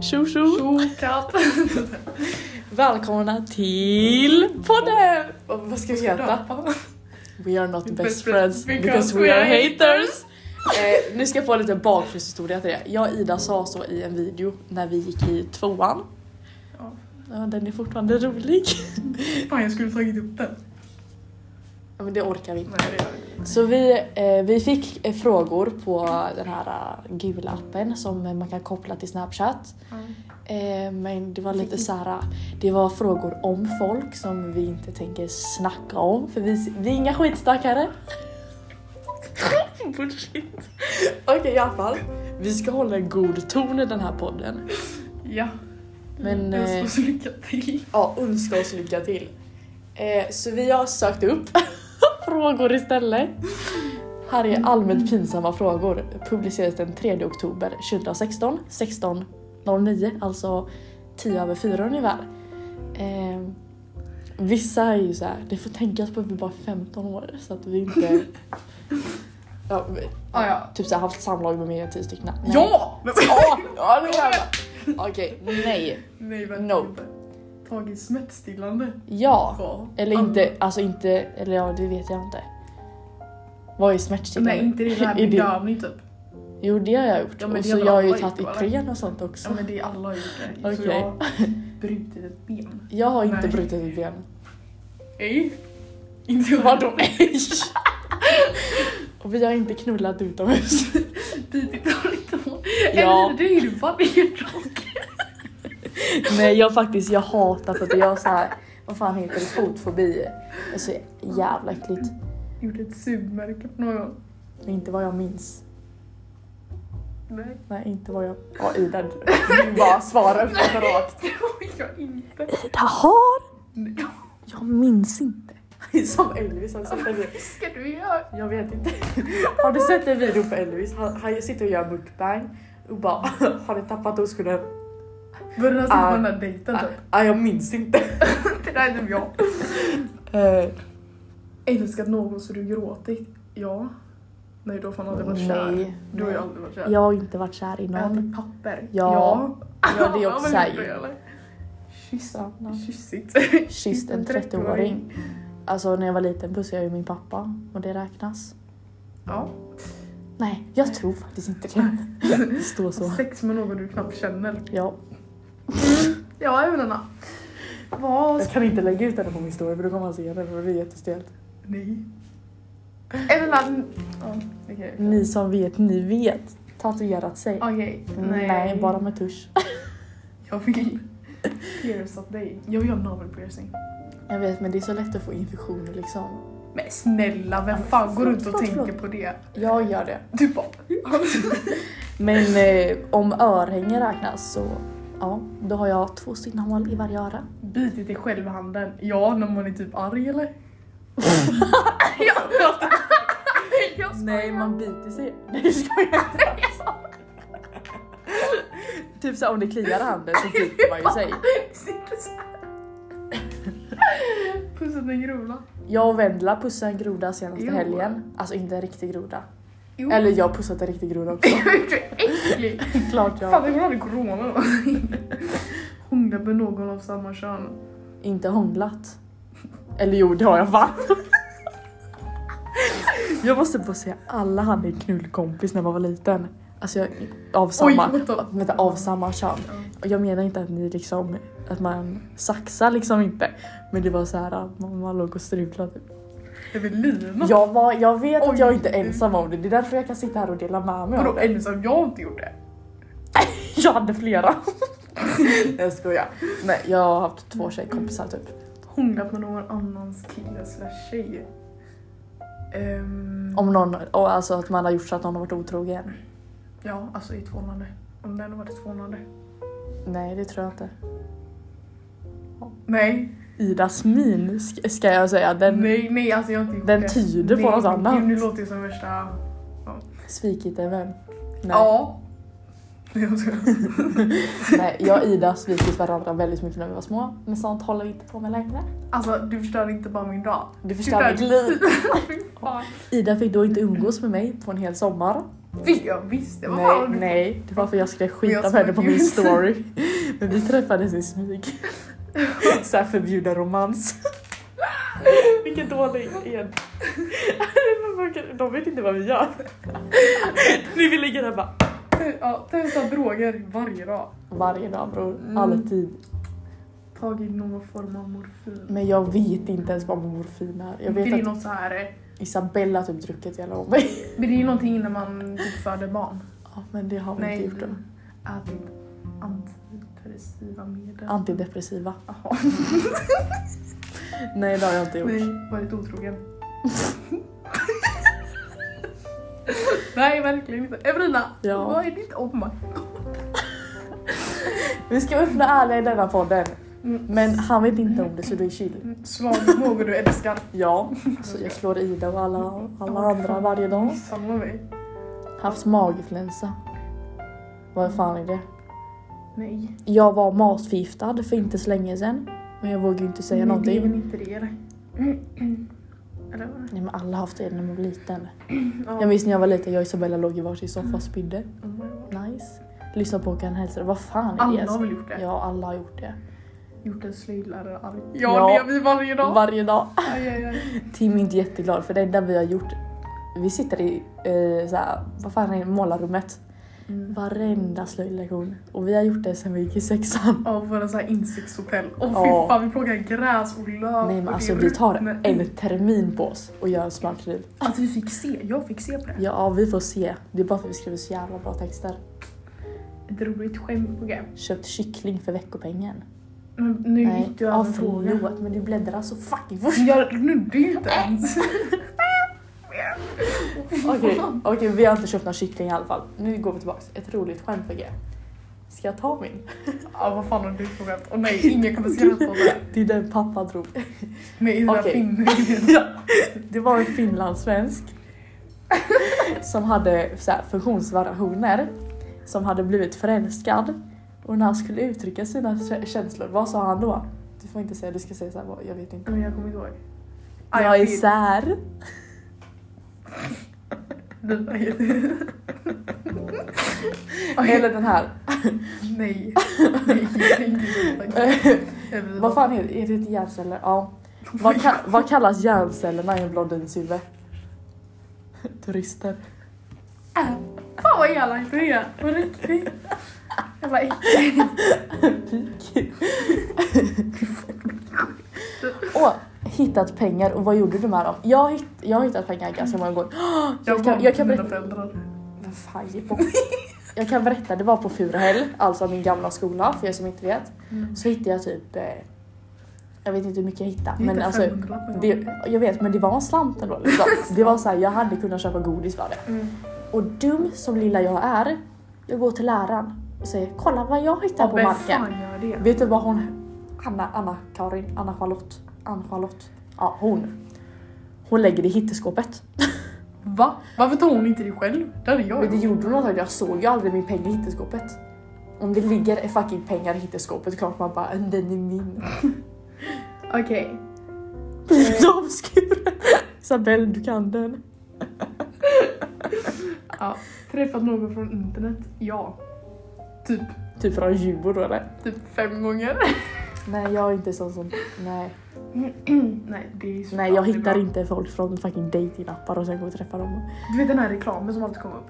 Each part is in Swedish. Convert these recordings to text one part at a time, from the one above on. Tjo tjo! Tjo katt! Välkomna till podden! Och Vad ska vi heta? Skrapa. We are not Best best friends friends because we are haters! Eh, nu ska jag få en liten bakgrundshistoria till det. Jag och Ida sa så i en video när vi gick i tvåan. Ja. Ja, den är fortfarande rolig. Fan jag skulle tagit upp den. Ja, men det orkar vi. Nej det gör jag inte. Så vi, eh, vi fick eh, frågor på den här eh, gula appen som eh, man kan koppla till Snapchat. Ja. Eh, men det var lite så här, det var frågor om folk som vi inte tänker snacka om för vi, vi är inga skitsnackare. Bullshit. Okej i alla fall. Vi ska hålla en god ton i den här podden. Ja. Men, Jag eh, ska så lycka till. Ja, önska oss lycka till. Eh, så vi har sökt upp frågor istället. Här är allmänt pinsamma frågor. Publiceras den 3 oktober 2016 16.09, alltså 10 över 4 ungefär. Eh, vissa är ju så här, det får tänkas på att vi bara är 15 år så att vi inte... Ja, vi- Ah, ja. Typ så här, haft samlag med mer än 10 stycken. Nej. Ja! Ja! Ja, nu jävlar! Okej, nej. Nej vänta Nope. inte. Tagit smärtstillande. Ja. Ja. Eller inte, alltså inte, eller ja det vet jag inte. Vad är smärtstillande? Nej inte det där Är det- med bedövning typ. Jo det har jag gjort. Ja, men och det så har jag har ju alla tagit gjort, va? Ipren och sånt också. Ja men det är alla har gjort det. Så Okej. jag har brutit ett ben. Jag har inte Nej. brutit ett ben. Nej. Inte jag. Vadå nej? och vi har inte knullat utomhus. Bitit har inte varit. Ja. Eller det är ju bara benrock. nej jag faktiskt, jag hatar för att jag har så här, vad fan heter det, fotfobi. Det är så jävla äckligt. Gjorde ett sugmärke på någon. Men inte vad jag minns. Nej. Nej inte vad jag... Ja Ida, du bara svarar öppet och rakt. Det har jag inte. Ida har! Nej. Jag minns inte. Som Elvis, alltså, han sitter ner. ska du göra? Jag vet inte. Har du sett en video på Elvis? Han, han sitter och gör mukbang och bara har ni tappat oskulden? Började han sitta Ah. på den där dejten typ? Ah, jag minns inte. Det där är typ jag. Eh, Älskat någon så du gråtit? Ja. Nej då har fan aldrig varit kär. nej. Du har ju nej. aldrig varit kär. Jag har inte varit kär i någon. Ätit papper? Ja. Ja, det är Har också man så här gjort det, ju. eller? Kyss. Sanna. Kyssigt. Kysst en 30-åring. Alltså när jag var liten pussade jag ju min pappa och det räknas. Ja. Nej, jag tror faktiskt inte det. Det står så. Sex med någon du knappt känner. Ja. Ja, jag menar. Vad? Jag kan inte lägga ut den på min story för då kommer han se den och det är jättestelt. Nej. Eller Ja, okej. Ni som vet, ni vet. Tatuerat sig. Okej. Nej, bara med tusch. Jag vill pierca dig. Jag vill göra navelpiercing. Jag vet men det är så lätt att få infektioner liksom. Men snälla, vem fan går runt och tänker på det? Jag gör det. Du bara... Men eh, om örhängen räknas så ja, då har jag två stycken hål i varje öra. Bitit i självhanden. Ja, när man är typ arg eller? jag jag- jag skojar. biter sig. Nej ska jag inte. typ såhär om det kliar i handen så biter man ju sig. Sitter så här. Pussa den grola. Jag och Vendela pussade en groda senaste Jo. helgen. Alltså inte en riktig groda. Jo. Eller jag har pussat en riktig groda också. du är äcklig. Klart jag. Fan, tänk om hon hade corona då. Hångla med någon av samma kön. Inte hånglat. Eller jo, det har jag fan. jag måste bara säga, alla hade en knullkompis när man var liten. Alltså jag, av samma, Oj, vänta. vänta, av samma kön. Ja. Och jag menar inte att ni liksom, att man saxar liksom inte. Men det var så här att man, man låg och strulade. Typ. Evelina. Jag, var, jag vet att Oj. jag inte är ensam om det, det är därför jag kan sitta här och dela med mig av Vadå det. ensam? Jag har inte gjort det. Jag hade flera. jag skojar. Nej, jag har haft två tjejkompisar typ. Hånglat med någon annans kille slash tjej. Ehm, Om någon, och alltså att man har gjort så att någon har varit otrogen. Ja, alltså i ett förhållande. Om den har varit ett förhållande. Nej, det tror jag inte. Nej, Idas min sk- ska jag säga, den nej, nej alltså jag har inte gjort den det. tyder på Nej, något men gud, annat. Nu låter jag som värsta... svikit en vän. Nej. Ja. Nej, jag skojar. Nej, jag och Ida har svikit varandra väldigt mycket när vi var små. Men sånt håller vi inte på med längre. Alltså du förstör inte bara min dag. Du förstör mitt liv. Fy fan. Ida fick då inte umgås med mig på en hel sommar. Fy, jag visste vad Nej, fan du- nej, det var för jag skrev Men skit jag om henne på smög min ut. story. Men vi träffades i smyg. Såhär förbjuden romans. Vilken dålig en. De vet inte vad vi gör. Nu vi ligger där bara. Ja, testa droger varje dag. Varje dag bror, Mm. alltid. Tagit någon form av morfin. Men jag vet inte ens vad morfin är. Jag det är vet att något så här. eh, Isabella har typ druckit jävla om mig. Men det är någonting när man typ föder barn. Ja, men det har vi inte gjort då. Ätit typ antidepressiva medel. Antidepressiva. Jaha. Nej, det har jag inte gjort. Nej, varit otrogen. Nej, verkligen inte. Evelina, Ja. vad är ditt oh my Vi ska vara öppna och ärliga i denna podden. Mm. Men han vet inte om det så du är chill. Slag något Mm, du älskar. Ja, alltså jag slår Ida och alla, alla andra varje dag. Samma mig. Haft magflänsa. Vad fan är det? Nej. Jag var matförgiftad för inte så länge sedan. Men jag vågar ju inte säga Nej, Det är väl någonting. inte det. eller? Eller vad? Nej men alla har haft det när man var liten. Ja. Jag minns när jag var liten, jag och Isabella låg i varsin soffa och spydde. Oh my God. Nice. Lyssna på Håkan Hellström, vad fan är det? Alla har ens? väl gjort det? Ja, alla har gjort det. Gjort en slöjdlärare arg. Ja, Ja. det gör vi varje dag. Varje dag. Aj, aj, aj. Tim är inte jätteglad för det enda vi har gjort, vi sitter i eh, såhär, vad fan är det, målarrummet. Mm. Varenda slöjdlektion. Och vi har gjort det sen vi gick i sexan. Ja, våra så här insektshotell. Åh Ja. fy fan, vi plockar gräs och löv. Nej men och alltså det vi tar ruttnar i. en termin på oss och gör en smart liv. Att vi fick se, jag fick se på det. Ja vi får se, det är bara för att vi skriver så jävla bra texter. Ett roligt skämt på G. Köpt kyckling för veckopengen. Men nu Nej, gick du ja över frågan. förlåt men du bläddrar så fucking fort. Jag nudde ju inte ens. Okej, okej, vi har inte köpt någon kyckling i alla fall. Nu går vi tillbaks. Ett roligt skämt VG. Ska jag ta min? Ja, vad fan har du för skämt? Åh nej, ingen kommer skratta åt det. Det är den pappa drog. Med den där Okej. pinnen. Ja, det var en finlandssvensk som hade så här, funktionsvariationer som hade blivit förälskad och när han skulle uttrycka sina kä- känslor, vad sa han då? Du får inte säga, du ska säga så här, vad- jag vet inte. Men jag kommer inte ihåg. Ja, Jag är Ah, vet. sär. Det där är- Eller den här. Nej. Nej, jag tänker inte. Evelina. vad fan heter det? Är det inte hjärnceller? Ja. Vad, ka- vad kallas hjärncellerna i en blondinshuvud? Turister. Äh, Fan vad elak du är, på riktigt. Jag bara äcklig. Pik. och hittat pengar och vad gjorde du med dem? Jag har, hitt- jag har hittat pengar ganska många gånger. Jag kan, jag kan mina berätta... föräldrar. Vad fan, ge på. Jag kan berätta, det var på Furuhäll, alltså min gamla skola för er som inte vet. Så hittade jag typ... Eh, jag vet inte hur mycket jag hittade men alltså... Det, jag vet men det var en slant ändå liksom. Det var såhär, jag hade kunnat köpa godis för det. Mm. Och dum som lilla jag är, jag går till läraren och säger kolla vad jag hittar Ja, på vem marken. fan gör det? Vet du vad hon... Anna, Anna, Karin, Anna Charlotte. Anna Charlotte. Ja, hon. Hon lägger det i hitteskåpet. Va? Varför tar hon inte det själv? Det hade jag Men det gjort. gjorde hon antagligen. Jag såg ju aldrig min peng i hitteskåpet. Om det ligger fucking pengar i hitteskåpet klart man bara den är min. Okej. Blir det omskuren? Isabelle du kan den. Ja. Träffat någon från internet? Ja. Typ, Typ från Djurgården då eller? typ fem gånger. Nej jag är inte sån som... Nej. Nej, det är så Mm. Nej jag aldrig hittar bra. inte folk från fucking datingappar och sen går och träffar dem. Du vet den här reklamen som alltid kommer upp?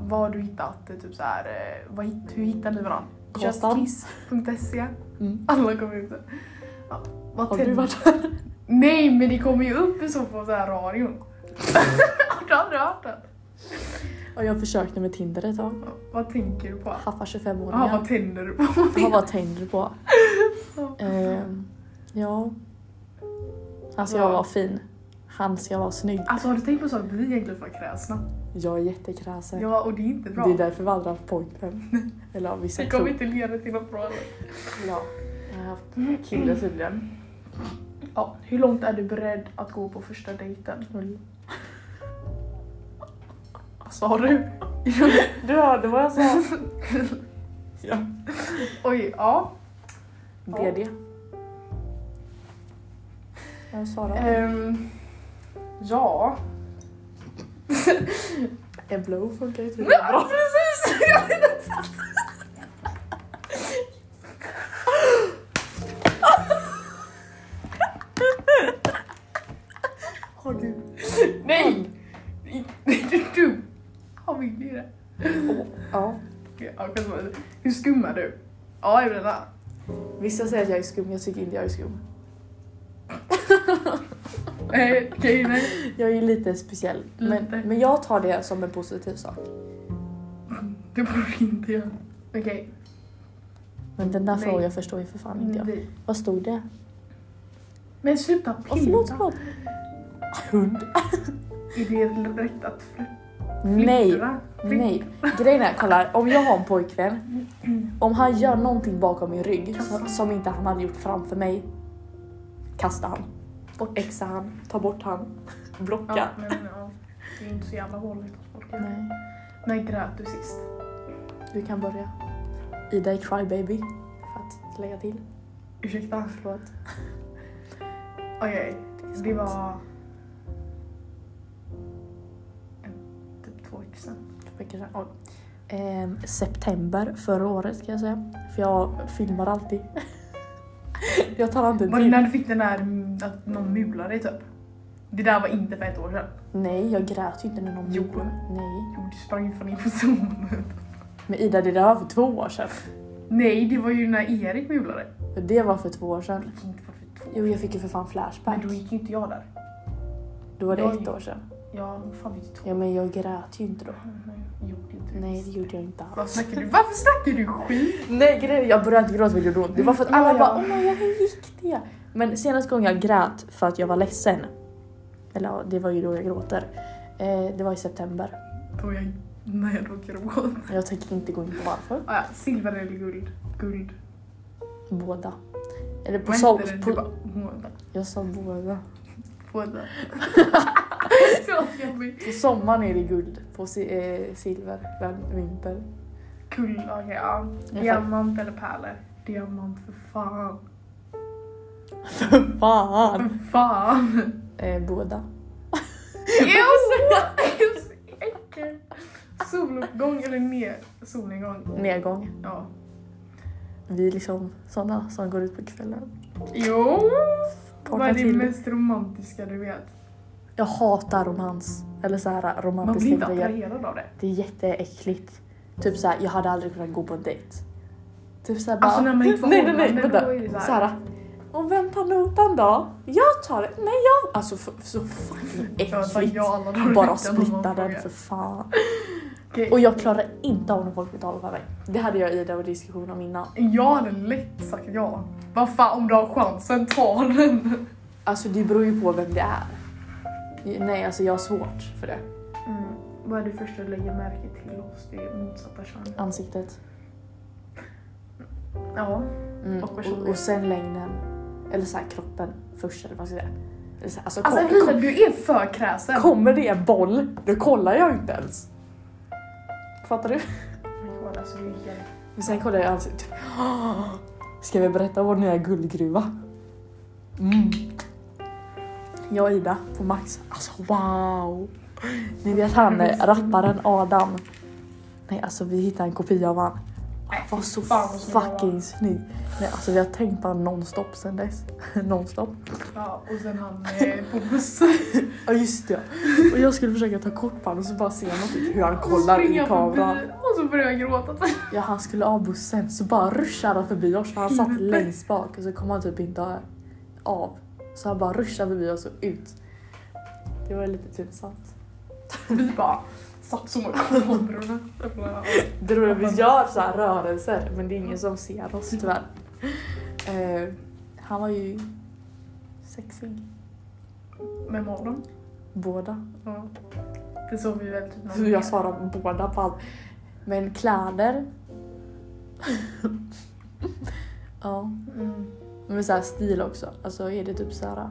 Vad har du hittat? Det är Typ så här, eh, vad, hitt- hur hittar ni varandra? Kåtan. Justkiss.se Mm. E. Alla kommer ut där. Ja, vad Har tänd- du varit där? Nej men det kommer ju upp i så på så här radion. har du aldrig hört det? Ja, jag försökte med Tinder ett tag. Ja, Vad tänker du på? Haffa Jaha, 25-åringar. vad tänder du på? Vad vad tänkte du på? Ehm, ja. Han ska Ja. vara fin. Han ska vara snygg. Alltså har du tänkt på så att vi är egentligen för kräsna? Jag är jättekräsen. Ja och det är inte bra. Det är därför vi aldrig har haft pojkvän. Eller ja, vissa Det kommer tror. inte leda till något bra. Ja. Jag har haft kille tydligen. Ja, hur långt är du beredd att gå på första dejten? Noll. Vad sa du? Du hörde vad jag sa. Ja. Oj, ja. DD. Jag sa det. Ehm, ja. En blow funkar ju tydligen bra. precis! Har du? Nej! Du! Har vi inte det? Ja. Okej, ja, kan man- Hur skum är du? Ja, jag blir där. Vissa säger att jag är skum, jag tycker inte jag är skum. Nej, Eh, okej, nej. Jag är lite speciell. Men, Lite. men jag tar det som en positiv sak. Det borde inte jag. Okej. Men den där Nej. frågan förstår ju för fan inte jag. vi- Vad stod det? Men sluta pilla. Åh förlåt, förlåt. Hund. Är det rätt att fly- Nej. flittra? Flytt- Nej, grejen är, kolla här, om jag har en pojkvän, om han gör någonting bakom min rygg som, som inte han hade gjort framför mig, kasta han. Bort. Exa han, ta bort han, blocka. Ja, men ja. Det är inte så jävla vanligt hos folk. Nej, När grät du sist? du kan börja. Ida är crybaby, för att lägga till. Ursäkta? Förlåt. Okej, sant. det var... en- Typ två veckor sedan. Två veckor sedan. Oj. Ehm, september förra året ska jag säga, för jag filmar alltid. jag tar inte en Var det bild. när du fick den där mm, att någon mulade dig typ? Det där var inte för ett år sedan. Nej, jag grät ju inte när någon Jo. Nej. Jo, du sprang ju fan in på zonen. Men Ida, det där var för två år sedan. Nej, det var ju när Erik mulade. Det var för två år sedan. Det gick inte vara för typ två. Jo, jag fick ju för fan flashback. Men då gick ju inte jag där. Då var det jag- ett år sedan. Ja, vad fan vet jag. Ja, men jag grät ju inte då. Jo, det gjorde Nej, det gjorde jag inte Vad alls. snackar du? Varför snackar du skit? Nej, grejen jag började inte gråta för det gjorde ont. Det var för att Ja, alla ja. bara åh ja, hur gick det? Men senaste gången jag grät för att jag var ledsen, eller ja, det var ju då jag gråter, eh, det var i september. Då jag... När jag råkar gråta. Jag tänker inte gå in på varför. Ah, ja, silver eller guld? Guld. Båda. Eller på Vad sol... heter det? Du På, bara, Båda. jag sa båda. Båda. Så ska vi. På sommaren är det guld, på si, eh, silver, vän- vinter. Kul, okej ja. Diamant eller pärlor? Diamant för fan. För fan! För fan. Eh, båda. Ew! Äckel. Soluppgång eller ner? Solnedgång? Nedgång. Ja. Vi är liksom såna som går ut på kvällen. Jo! Vad Partar är det till. mest romantiska du vet? Jag hatar romans. Eller så här Man blir inte romantiska grejer. attraherad av det. Det är jätteäckligt. Typ så här, jag hade aldrig kunnat gå på en dejt. Typ så här bara... Alltså, när man är i ett nej, nej, nej, förhållande, vänta. då är det så här. Så här, och vem tar notan då? Jag tar det. Nej, jag... Alltså f- så fucking Jag sa äckligt. ja alla dagar i Bara veckan om någon splitta den frågar. för fan. Okej. Och jag klarar inte av när folk betalar för mig. Det hade jag Ida och diskussion om innan. Jag hade lätt sagt ja. Vad fan, om du har chansen, ta den. Alltså det beror ju på vem det är. Nej, alltså jag har svårt för det. Mm. Vad är det första du lägger märke till hos det motsatta könet? Ansiktet. Ja. Mm. Och Och, personlighet. och, sen längden. Eller så här kroppen först eller vad ska jag säga. Eller så här, alltså, Alltså kom, Frida, kom, du är för kräsen. kommer det en boll, då kollar jag inte ens. Fattar du? Kolla, Alltså, du är helt- Men sen kollar jag ansiktet. Typ, "Åh, ska vi berätta om vår nya guldgruva? Mm. Jag och Ida på Max. Alltså wow! Ni vet han eh, rapparen Adam. Nej alltså vi hittade en kopia av han. Nej, Han var så fy fan, vad snygg han var. fucking snygg. Nej, alltså vi har tänkt på honom nonstop sen dess. nonstop. Ja, och sen han eh, på bussen. Ja just det. Och jag skulle försöka ta kort på honom och så bara se honom, typ, hur han Och kollar springer i jag kameran. förbi, Och så börjar jag gråta. Ja han skulle av bussen så bara ruschade han förbi oss för han satt Helvete. längst bak och så kom han typ inte av. Så han bara ruschade förbi oss och ut. Det var lite pinsamt. Vi bara satt som kamerorna. Jag bara, ja. Det roliga är att vi gör så här rörelser men det är ingen som ser oss tyvärr. Eh, han var ju sexig. Med morgon. Båda. Ja. Det såg vi väl typ Så jag svarar båda på allt. Men kläder. ja. Mm. Men så här stil också. Alltså är det typ så här.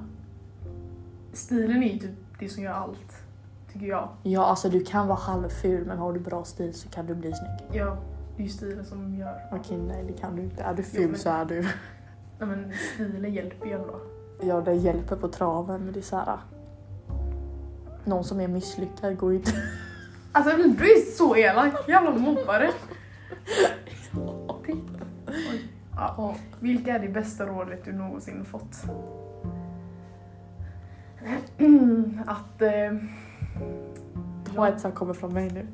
Stilen är ju typ det som gör allt. tycker jag. Ja alltså du kan vara halvful men har du bra stil så kan du bli snygg. Ja, det är ju stilen som gör. Okej nej det kan du inte. Är du Jo, ful men- så är du. Nej men stilen hjälper ju ändå. Ja det hjälper på traven men det är såhär. Någon som är misslyckad går ju inte... Alltså du är så elak, jävla mobbare. Titta. Oj. Ja. Ja. Vilka är det bästa rådet du någonsin fått? Mm, Att... Eh, Ta ett som kommer från mig nu.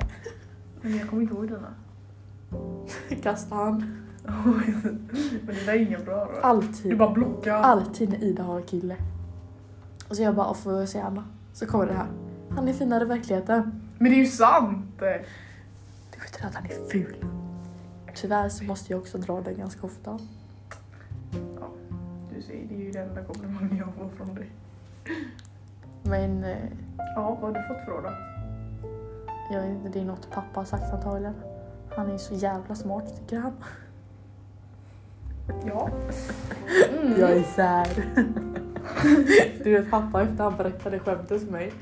men jag kommer inte ihåg dina. Kasta hand. men det där är inga bra råd. Du Alltid. bara blockar. Alltid när Ida har kille. Och så jag bara, "Åh, får jag se Anna? Så kommer det här. Han är finare i verkligheten. Men det är ju sant! Du vet redan att han är ful. Tyvärr så måste jag också dra den ganska ofta. Du ser, det är ju den enda komplimangen jag får från dig. Men eh, Ja, vad har du fått för råd då? jag vet inte, det är något pappa har sagt antagligen. Han är så jävla smart tycker han. Ja. Mm. Jag är sär. du vet pappa efter han berättade skämtet för mig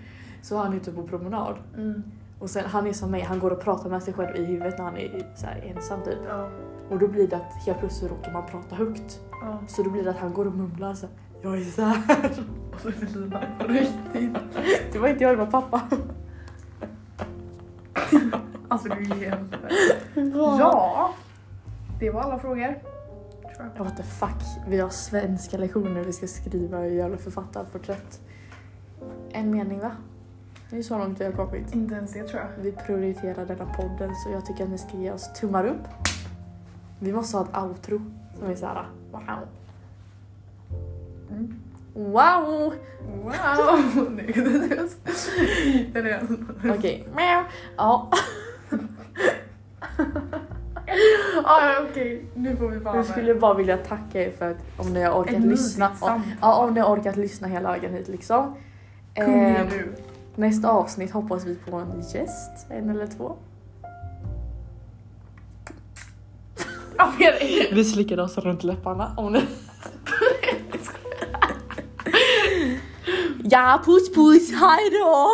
så var han ute på promenad. Mm. Och sen han är som mig, han går och pratar med sig själv i huvudet när han är så här, ensam typ. Ja. Och då blir det att helt plötsligt råkar man prata högt. ja. Så då blir det att han går och mumlar så här, Jag är sär. Och så är det Lina på riktigt. Det var inte jag, det var pappa. Alltså du är ju helt... Ja! Det var alla frågor. Tror jag. Ja, Oh, What the fuck. Vi har svenska lektioner vi ska skriva i jävla författarporträtt. En mening va? Det är så långt vi har kommit. Inte ens det tror jag. Vi prioriterar denna podden så jag tycker att ni ska ge oss tummar upp. Vi måste ha ett outro som är såhär wow. Mm. Wow! Wow! Nej, det är det. Det är det. Okej, meow. Ja, Ah, ja, Okej, nu får vi fan... jag skulle bara vilja tacka er för att om ni har orkat Ett lyssna. mysigt samtal. Ja, om ni har orkat lyssna hela vägen hit liksom. Kung är Ehm, du. Nästa avsnitt hoppas vi på en gäst, en eller två. Ja, men jag- Vi slickade oss runt läpparna om ni... ja, puss puss, hejdå!